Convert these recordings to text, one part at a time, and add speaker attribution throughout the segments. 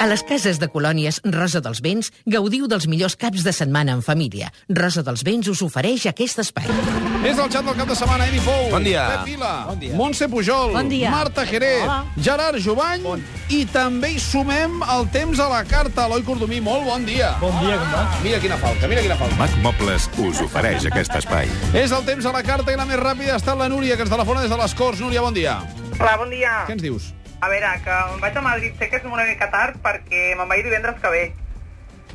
Speaker 1: A les cases de colònies Rosa dels Vents gaudiu dels millors caps de setmana en família. Rosa dels Vents us ofereix aquest espai.
Speaker 2: És el xat del cap de setmana, Edi Fou.
Speaker 3: Bon dia.
Speaker 2: Pep Vila. Bon dia. Montse Pujol.
Speaker 4: Bon dia.
Speaker 2: Marta Jerez.
Speaker 4: Hola.
Speaker 2: Gerard Jovany. Bon. I també hi sumem el temps a la carta. Eloi Cordomí, molt bon dia. Bon dia, com va? Mira quina falta, mira quina falta.
Speaker 5: Mac Mobles us ofereix aquest espai.
Speaker 2: És el temps a la carta i la més ràpida ha estat la Núria, que ens telefona des de les Corts. Núria, bon dia.
Speaker 6: Hola, bon dia.
Speaker 2: Què ens dius?
Speaker 6: A veure, que em vaig a Madrid, sé que és una mica tard perquè me'n vaig divendres que ve.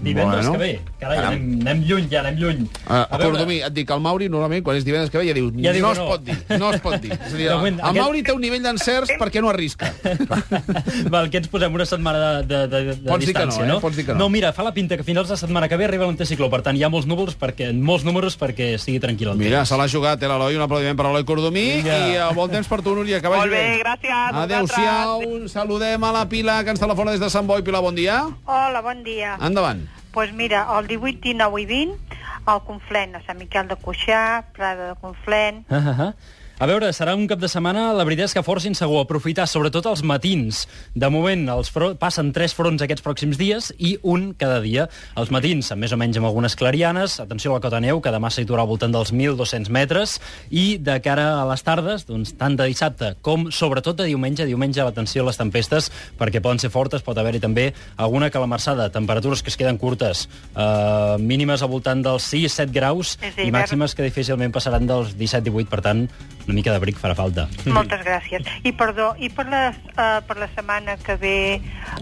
Speaker 7: Divendres
Speaker 2: Bueno.
Speaker 7: bueno. que ve. Carai, anem, anem lluny, ja anem lluny.
Speaker 2: Uh,
Speaker 7: A veure,
Speaker 2: Cordomí, et dic, el Mauri normalment quan és divendres que ve ja diu,
Speaker 7: Ja diu
Speaker 2: no
Speaker 7: que
Speaker 2: es
Speaker 7: no."
Speaker 2: pot dir, no es pot dir. És a dir,
Speaker 7: De
Speaker 2: el,
Speaker 7: moment,
Speaker 2: el
Speaker 7: aquest-
Speaker 2: Mauri té un nivell d'encerts perquè no arrisca.
Speaker 7: Val, que ens posem una setmana de, de, de, de
Speaker 2: Pots dir que no,
Speaker 7: distància,
Speaker 2: eh?
Speaker 7: no?
Speaker 2: Pots dir que no.
Speaker 7: No, mira, fa la pinta que a finals de setmana que ve arriba l'anticicló, per tant, hi ha molts núvols perquè, molts números perquè estigui tranquil el temps.
Speaker 2: Mira, se l'ha jugat, eh, l'Eloi, un aplaudiment per l'Eloi Cordomí
Speaker 7: Vinga.
Speaker 2: i eh, bon temps per tu, Núria, que vagi
Speaker 6: Molt bé, gràcies.
Speaker 2: Adéu-siau, saludem a la Pilar, que ens telefona des de Sant Boi. Pilar, bon dia.
Speaker 8: Hola, bon dia. Doncs
Speaker 2: Endavant.
Speaker 8: pues mira, el 18, 19 i 20, al Conflent, a Sant Miquel de Cuixà, Prada de Conflent...
Speaker 7: Ah, ah, ah. A veure, serà un cap de setmana, la veritat és que força insegur aprofitar, sobretot els matins. De moment, els fro- passen tres fronts aquests pròxims dies i un cada dia. Els matins, amb més o menys amb algunes clarianes, atenció a la cota neu, que demà se situarà al voltant dels 1.200 metres, i de cara a les tardes, doncs, tant de dissabte com sobretot de diumenge, diumenge atenció a les tempestes, perquè poden ser fortes, pot haver-hi també alguna calamarsada, temperatures que es queden curtes, eh, mínimes al voltant dels 6-7 graus
Speaker 8: És
Speaker 7: i
Speaker 8: hivern.
Speaker 7: màximes que difícilment passaran dels 17-18, per tant, una mica de bric farà falta.
Speaker 2: Mm-hmm.
Speaker 8: Moltes gràcies. I perdó, i per la, uh, per la setmana que ve,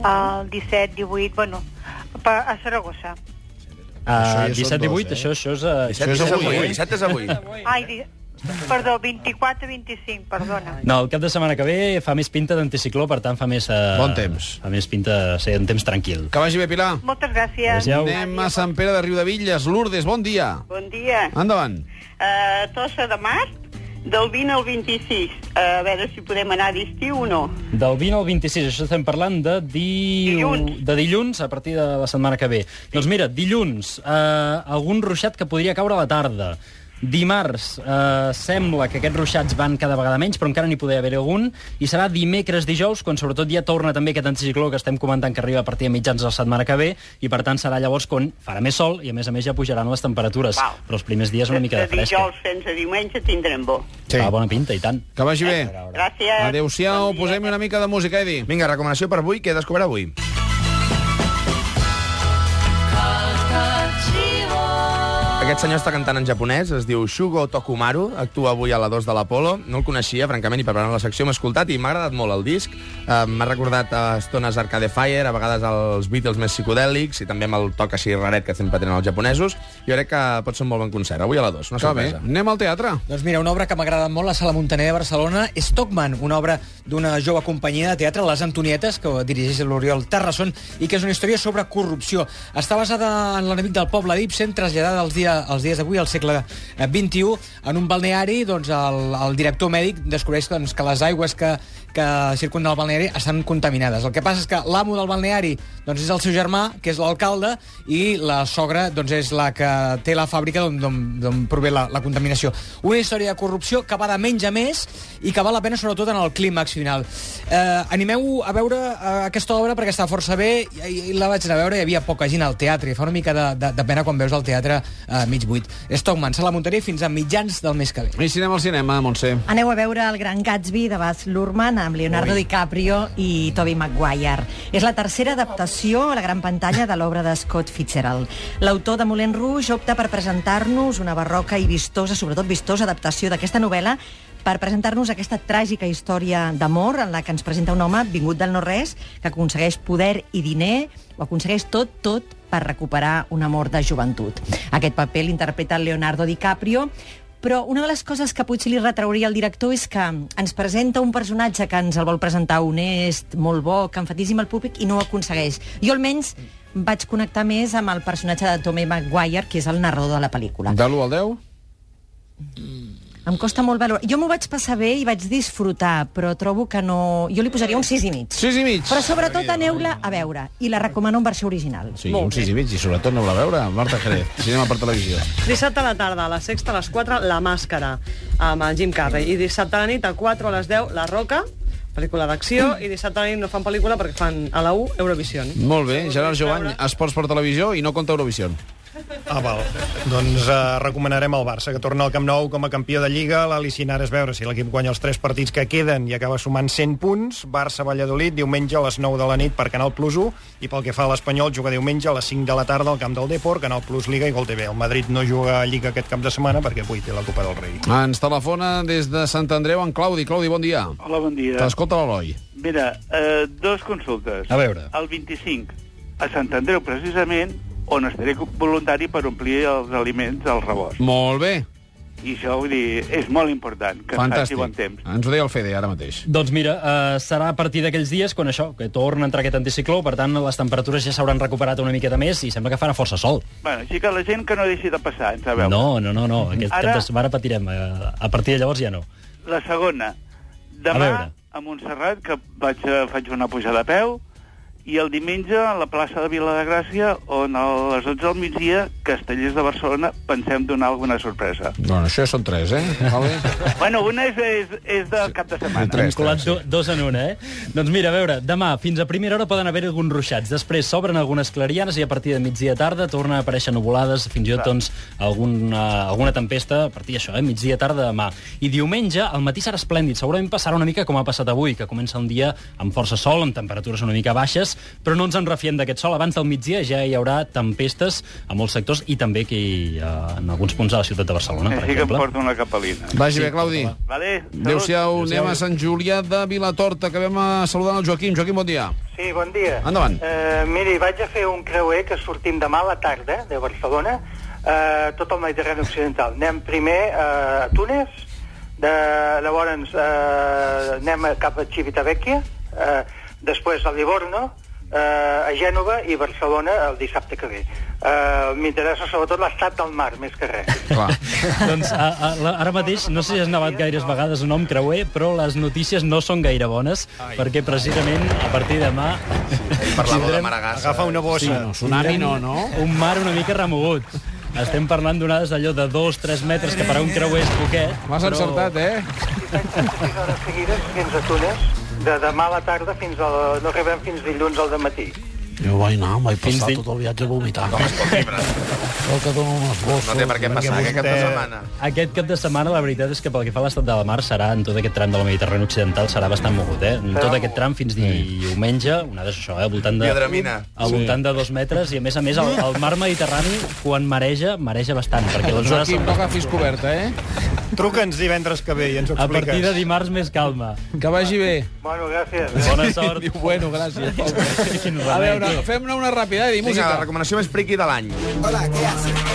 Speaker 8: el 17, 18, bueno, per, a Saragossa.
Speaker 7: Uh,
Speaker 2: ja són dos,
Speaker 7: 17-18,
Speaker 2: eh?
Speaker 7: això, això és... Uh,
Speaker 3: Dissabte és avui.
Speaker 2: avui.
Speaker 3: Dissabte és avui.
Speaker 8: Ai, di... perdó, 24, 25, perdona.
Speaker 7: No, el cap de setmana que ve fa més pinta d'anticicló, per tant fa més... Uh,
Speaker 2: Bon temps.
Speaker 7: Fa més pinta de ser un temps tranquil.
Speaker 2: Que vagi bé, Pilar.
Speaker 8: Moltes gràcies.
Speaker 7: Adéu.
Speaker 2: Anem a Sant Ah. Pere de Riu de Villas. Lourdes, bon dia.
Speaker 9: Bon dia.
Speaker 2: Endavant.
Speaker 9: Uh, Tossa de Mar, del 20 al 26. Uh, a veure si podem anar d'estiu o no.
Speaker 7: Del 20 al 26, això estem parlant de, di...
Speaker 9: Dilluns.
Speaker 7: de dilluns a partir de la setmana que ve. Doncs mira, dilluns, eh, algun ruixat que podria caure a la tarda. Dimarts eh, sembla que aquests ruixats van cada vegada menys, però encara n'hi podria haver algun, i serà dimecres, dijous, quan sobretot ja torna també aquest anticicló que estem comentant que arriba a partir de mitjans de la setmana que ve, i per tant serà llavors quan farà més sol i a més a més ja pujaran les temperatures.
Speaker 9: Val.
Speaker 7: Però els primers dies una mica de fresca.
Speaker 9: dijous fins a diumenge tindrem bo.
Speaker 2: Sí.
Speaker 7: Fa bona pinta, i tant.
Speaker 2: Que vagi bé.
Speaker 9: Gràcies.
Speaker 2: Adéu-siau. Posem una mica de música, Edi.
Speaker 3: Vinga, recomanació per avui, que he descobert avui. Aquest senyor està cantant en japonès, es diu Shugo Tokumaru, actua avui a la 2 de l'Apolo. No el coneixia, francament, i preparant la secció m'he escoltat i m'ha agradat molt el disc. Eh, M'ha recordat a estones Arcade Fire, a vegades els Beatles més psicodèlics, i també amb el toc així raret que sempre tenen els japonesos. Jo crec que pot ser un molt bon concert, avui a la 2, una
Speaker 2: Que bé.
Speaker 3: sorpresa.
Speaker 2: Anem al teatre.
Speaker 10: Doncs mira, una obra que m'ha agradat molt, la Sala Montaner de Barcelona, és Stockman, una obra d'una jove companyia de teatre, Les Antonietes, que dirigeix l'Oriol Terrasson, i que és una història sobre corrupció. Està basada en l'enemic del poble d'Ibsen, traslladada als, dia, als dies d'avui, al segle eh, XXI, en un balneari, doncs el, el director mèdic descobreix doncs, que les aigües que, que circunden el balneari estan contaminades. El que passa és que l'amo del balneari doncs, és el seu germà, que és l'alcalde, i la sogra doncs, és la que té la fàbrica d'on- d'on d'on prové la, la contaminació. Una història de corrupció que va de menys a més i que val la pena sobretot en el clímax final. Eh, animeu a veure eh, aquesta obra perquè està força bé i, i la vaig anar a veure i hi havia poca gent al teatre i fa una mica de, de, de pena quan veus el teatre eh, mig buit. Stockman, Sala Montaner fins a mitjans del mes que ve.
Speaker 2: I si anem al cinema, Montse.
Speaker 4: Aneu a veure el Gran Gatsby de Baz Luhrmann amb Leonardo DiCaprio i Tobey Maguire. És la tercera adaptació a la gran pantalla de l'obra de Scott Fitzgerald. L'autor de Moulin Rouge opta per presentar-nos una barroca i vistosa, sobretot vistosa, adaptació d'aquesta novel·la per presentar-nos aquesta tràgica història d'amor en la que ens presenta un home vingut del no-res que aconsegueix poder i diner, ho aconsegueix tot, tot, per recuperar un amor de joventut. Aquest paper l'interpreta Leonardo DiCaprio, però una de les coses que potser li retrauria el director és que ens presenta un personatge que ens el vol presentar honest, molt bo, que enfatitzi amb el públic i no ho aconsegueix. Jo almenys vaig connectar més amb el personatge de Tommy Maguire, que és el narrador de la pel·lícula.
Speaker 2: De l'1 al 10?
Speaker 4: Em costa molt valorar. Jo m'ho vaig passar bé i vaig disfrutar, però trobo que no... Jo li posaria un 6 i mig.
Speaker 2: 6 i mig.
Speaker 4: Però sobretot aneu-la a veure, i la recomano en versió original.
Speaker 2: Sí, un 6 i mig, i sobretot no la veure. Marta Jerez, cinema per televisió.
Speaker 11: Dissabte a la tarda, a les 6 a les 4, La Màscara, amb el Jim Carrey. I dissabte a la nit, a 4 a les 10, La Roca, pel·lícula d'acció, i dissabte a la nit no fan pel·lícula perquè fan a la 1 Eurovisió.
Speaker 2: Molt bé, Gerard Jovany, Esports per Televisió i no compta Eurovisió.
Speaker 12: Ah, val. Doncs eh, recomanarem el Barça, que torna al Camp Nou com a campió de Lliga. L'al·licinar és veure si l'equip guanya els tres partits que queden i acaba sumant 100 punts. Barça-Valladolid, diumenge a les 9 de la nit per Canal Plus 1. I pel que fa a l'Espanyol, juga diumenge a les 5 de la tarda al Camp del Depor, Canal Plus Liga i Gol TV. El Madrid no juga a Lliga aquest cap de setmana perquè avui té la Copa del Rei.
Speaker 2: Ens telefona des de Sant Andreu en Claudi. Claudi, bon dia.
Speaker 13: Hola, bon dia.
Speaker 2: T'escolta l'Eloi.
Speaker 13: Mira, eh, dos consultes.
Speaker 2: A veure.
Speaker 13: El 25, a Sant Andreu, precisament, on estaré voluntari per omplir els aliments al rebost.
Speaker 2: Molt bé,
Speaker 13: I això, vull dir, és molt important, que
Speaker 2: fantàstic.
Speaker 13: faci bon temps.
Speaker 2: Ens ho deia el Fede ara mateix.
Speaker 7: Doncs mira, eh, serà a partir d'aquells dies quan això, que torna a entrar aquest anticicló, per tant, les temperatures ja s'hauran recuperat una miqueta més i sembla que farà força sol.
Speaker 13: Bueno, així que la gent que no deixi de passar, ens a veure.
Speaker 7: No, no, no, no. aquest
Speaker 13: Ara-
Speaker 7: cap de setmana patirem. eh, A partir de llavors ja no.
Speaker 13: La segona,
Speaker 7: A
Speaker 13: demà a,
Speaker 7: veure.
Speaker 13: a Montserrat, que vaig, a- faig una pujada a peu, i el diumenge a la plaça de Vila de Gràcia, on a les 12 del migdia, Castellers de Barcelona, pensem donar alguna sorpresa.
Speaker 2: Bueno, això ja són tres, eh? Vale.
Speaker 13: bueno, una és, és, és del cap de setmana.
Speaker 7: Hem colat do, dos en una, eh? Doncs mira, a veure, demà fins a primera hora poden haver alguns ruixats, després s'obren algunes clarianes i a partir de migdia tarda torna a aparèixer nuvolades, fins i tot
Speaker 13: Clar.
Speaker 7: doncs, alguna, alguna tempesta a partir d'això, eh? migdia tarda demà. I diumenge al matí serà esplèndid, segurament passarà una mica com ha passat avui, que comença un dia amb força sol, amb temperatures una mica baixes, però no ens en refiem d'aquest sol. Abans del migdia ja hi haurà tempestes a molts sectors i també aquí eh, en alguns punts de la ciutat de Barcelona, per
Speaker 13: Així Eh, que em
Speaker 7: exemple.
Speaker 13: porto una capelina.
Speaker 2: Vagi bé, Claudi.
Speaker 13: Vale, salut.
Speaker 2: Adéu-siau, anem a Sant Julià de Vilatorta, que vam a saludar el Joaquim. Joaquim, bon dia.
Speaker 14: Sí, bon dia.
Speaker 2: Endavant.
Speaker 14: Eh, miri, vaig a fer un creuer que sortim demà a la tarda de Barcelona, eh, tot el Mediterrani Occidental. Anem primer eh, a Túnez, de, llavors eh, anem a- cap a Civitavecchia, eh, després a Livorno, eh, a Gènova i Barcelona el dissabte que ve. Eh, M'interessa sobretot l'estat del mar, més que res.
Speaker 2: Clar.
Speaker 7: doncs a, a, la- ara mateix, no sé si has nevat gaires vegades o no em creuer, però les notícies no són gaire bones, Ai. perquè precisament a partir de demà...
Speaker 3: Parlàveu de
Speaker 7: tindrem-
Speaker 3: Maragassa.
Speaker 12: Agafa una bossa.
Speaker 7: tindrem Un mar una mica remogut. Estem parlant d'onades allò de 2-3 metres, que per a un creuer és poquet.
Speaker 2: M'has
Speaker 7: però-
Speaker 2: encertat, eh?
Speaker 14: Seguides fins a Túnez, de demà a la tarda fins al... no arribem fins dilluns al matí.
Speaker 15: Jo vaig anar, em vaig
Speaker 7: Fins
Speaker 15: passar
Speaker 7: di-
Speaker 15: tot el viatge vomitant. Això que dona unes bosses...
Speaker 3: No té per què passar aquest cap de setmana.
Speaker 7: Aquest cap de setmana, la veritat és que pel que fa a l'estat de la mar, serà en tot aquest tram de la Mediterrània Occidental serà bastant mogut, eh? En tot aquest tram fins diumenge, una des això, eh? Al voltant de...
Speaker 3: Diadramina.
Speaker 7: Al voltant de dos metres, i a més a més, el, el mar Mediterrani, quan mareja, mareja bastant, perquè les onades...
Speaker 2: Joaquim, no agafis coberta, eh?
Speaker 12: Truca'ns divendres que ve i ens ho
Speaker 7: A partir
Speaker 12: expliques.
Speaker 7: de dimarts, més calma.
Speaker 2: Que vagi bé.
Speaker 14: Bueno, gràcies.
Speaker 7: Bona sort.
Speaker 2: Diu, bueno, gràcies. A veure, fem-ne una ràpida i
Speaker 3: Vinga,
Speaker 2: música.
Speaker 3: la recomanació més friqui de l'any. Hola, què haces?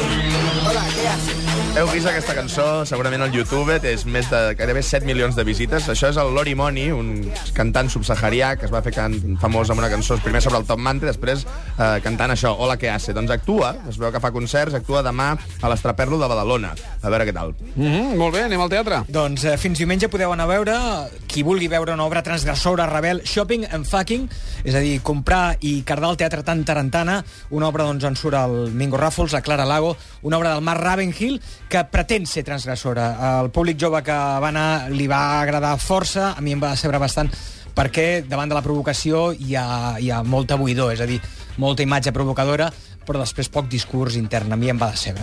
Speaker 3: Hola, què haces? Heu vist aquesta cançó, segurament al YouTube, té més de gairebé 7 milions de visites. Això és el Lori Moni, un cantant subsaharià que es va fer can famós amb una cançó primer sobre el Top Manta i després eh, cantant això, Hola, què haces? Doncs actua, es veu que fa concerts, actua demà a l'Estraperlo de Badalona. A veure què tal.
Speaker 2: Mm -hmm, molt bé, anem al teatre.
Speaker 10: Doncs eh, fins diumenge podeu anar a veure eh, qui vulgui veure una obra transgressora, rebel, shopping and fucking, és a dir, comprar i cardar al teatre tan tarantana, una obra d'on on surt el Mingo Ràfols, la Clara Lago, una obra del Marc Ravenhill que pretén ser transgressora. El públic jove que va anar li va agradar força, a mi em va decebre bastant, perquè davant de la provocació hi ha, hi ha molta buidor, és a dir, molta imatge provocadora, però després poc discurs intern. A mi em va decebre.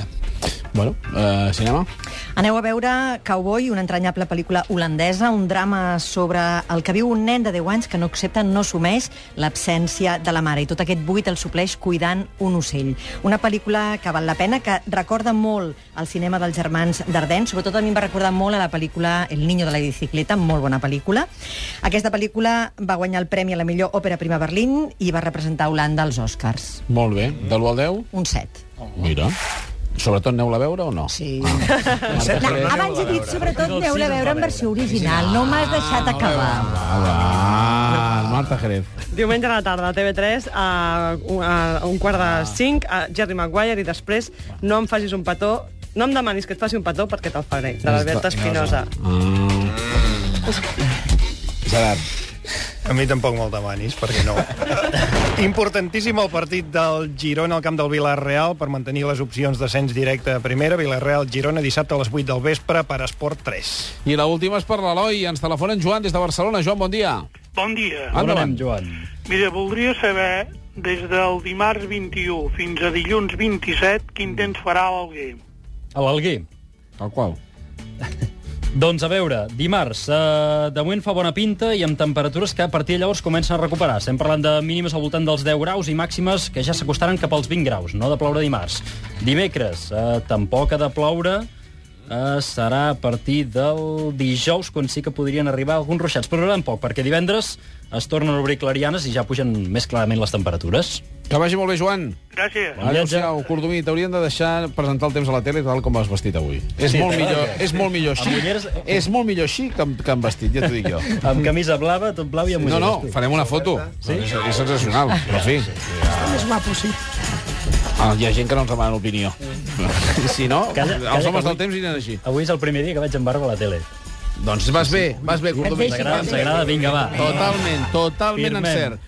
Speaker 2: Bueno, eh, cinema.
Speaker 4: Aneu a veure Cowboy, una entranyable pel·lícula holandesa, un drama sobre el que viu un nen de 10 anys que no accepta, no assumeix l'absència de la mare i tot aquest buit el supleix cuidant un ocell. Una pel·lícula que val la pena, que recorda molt el cinema dels germans Dardenne, sobretot a mi em va recordar molt a la pel·lícula El niño de la bicicleta, molt bona pel·lícula. Aquesta pel·lícula va guanyar el premi a la millor òpera prima a Berlín i va representar Holanda als Oscars.
Speaker 2: Molt bé. De l'1 al 10?
Speaker 4: Un set.
Speaker 2: Mira. Sobretot aneu-la a veure o no?
Speaker 4: Sí.
Speaker 2: Ah.
Speaker 4: No, abans he dit, sobretot, aneu-la a veure en versió original. No m'has deixat acabar.
Speaker 2: Ah, Marta Jerez.
Speaker 11: Diumenge a la tarda, a TV3, a, un- a un quart de cinc, a Jerry Maguire, i després no em facis un petó, no em demanis que et faci un petó perquè te'l faré, de l'Alberta Espinosa.
Speaker 2: Ah. Gerard.
Speaker 12: A mi tampoc me'l demanis, perquè no. Importantíssim el partit del Girona al camp del Villarreal per mantenir les opcions d'ascens directe a primera. Villarreal-Girona dissabte a les 8 del vespre per Esport 3.
Speaker 2: I la última és per l'Eloi. Ens telefona en Joan des de Barcelona. Joan, bon dia.
Speaker 16: Bon dia.
Speaker 2: Endavant.
Speaker 7: Joan.
Speaker 16: Mira, voldria saber, des del dimarts 21 fins a dilluns 27, quin temps farà a l'Alguer.
Speaker 7: A l'Alguer.
Speaker 2: Tal qual.
Speaker 7: Doncs a veure, dimarts, eh, de moment fa bona pinta i amb temperatures que a partir de llavors comencen a recuperar. Estem parlant de mínimes al voltant dels 10 graus i màximes que ja s'acostaran cap als 20 graus, no de ploure dimarts. Dimecres, eh, tampoc ha de ploure, eh, serà a partir del dijous, quan sí que podrien arribar alguns ruixats, però durant poc, perquè divendres es tornen a obrir clarianes i ja pugen més clarament les temperatures.
Speaker 2: Que vagi molt bé, Joan.
Speaker 16: Gràcies.
Speaker 2: Adéu-siau, Cordomí. T'haurien de deixar presentar el temps a la tele tal com has vestit avui. És,
Speaker 7: Sí,
Speaker 2: molt,
Speaker 7: t'agrada
Speaker 2: millor,
Speaker 7: o què?
Speaker 2: és molt millor
Speaker 7: Amb
Speaker 2: així.
Speaker 7: ulleres-
Speaker 2: És molt millor així que amb, que amb vestit, ja t'ho dic jo.
Speaker 7: Amb camisa blava, tot blau i amb
Speaker 2: No, no,
Speaker 7: ulleres.
Speaker 2: farem una foto. Sí? És sensacional, però en fi.
Speaker 15: Més guapo, sí.
Speaker 2: Ah, hi ha gent que no ens demana opinió. Si no,
Speaker 7: Calla- calla,
Speaker 2: els homes
Speaker 7: que
Speaker 2: del temps aniran així.
Speaker 7: Avui és el primer dia que vaig amb barba a la tele.
Speaker 2: Doncs vas bé, vas bé, Cordomí.
Speaker 7: Ens agrada, ens agrada, vinga, va.
Speaker 2: Tota Totalment, totalment
Speaker 7: Firmem.
Speaker 2: encert.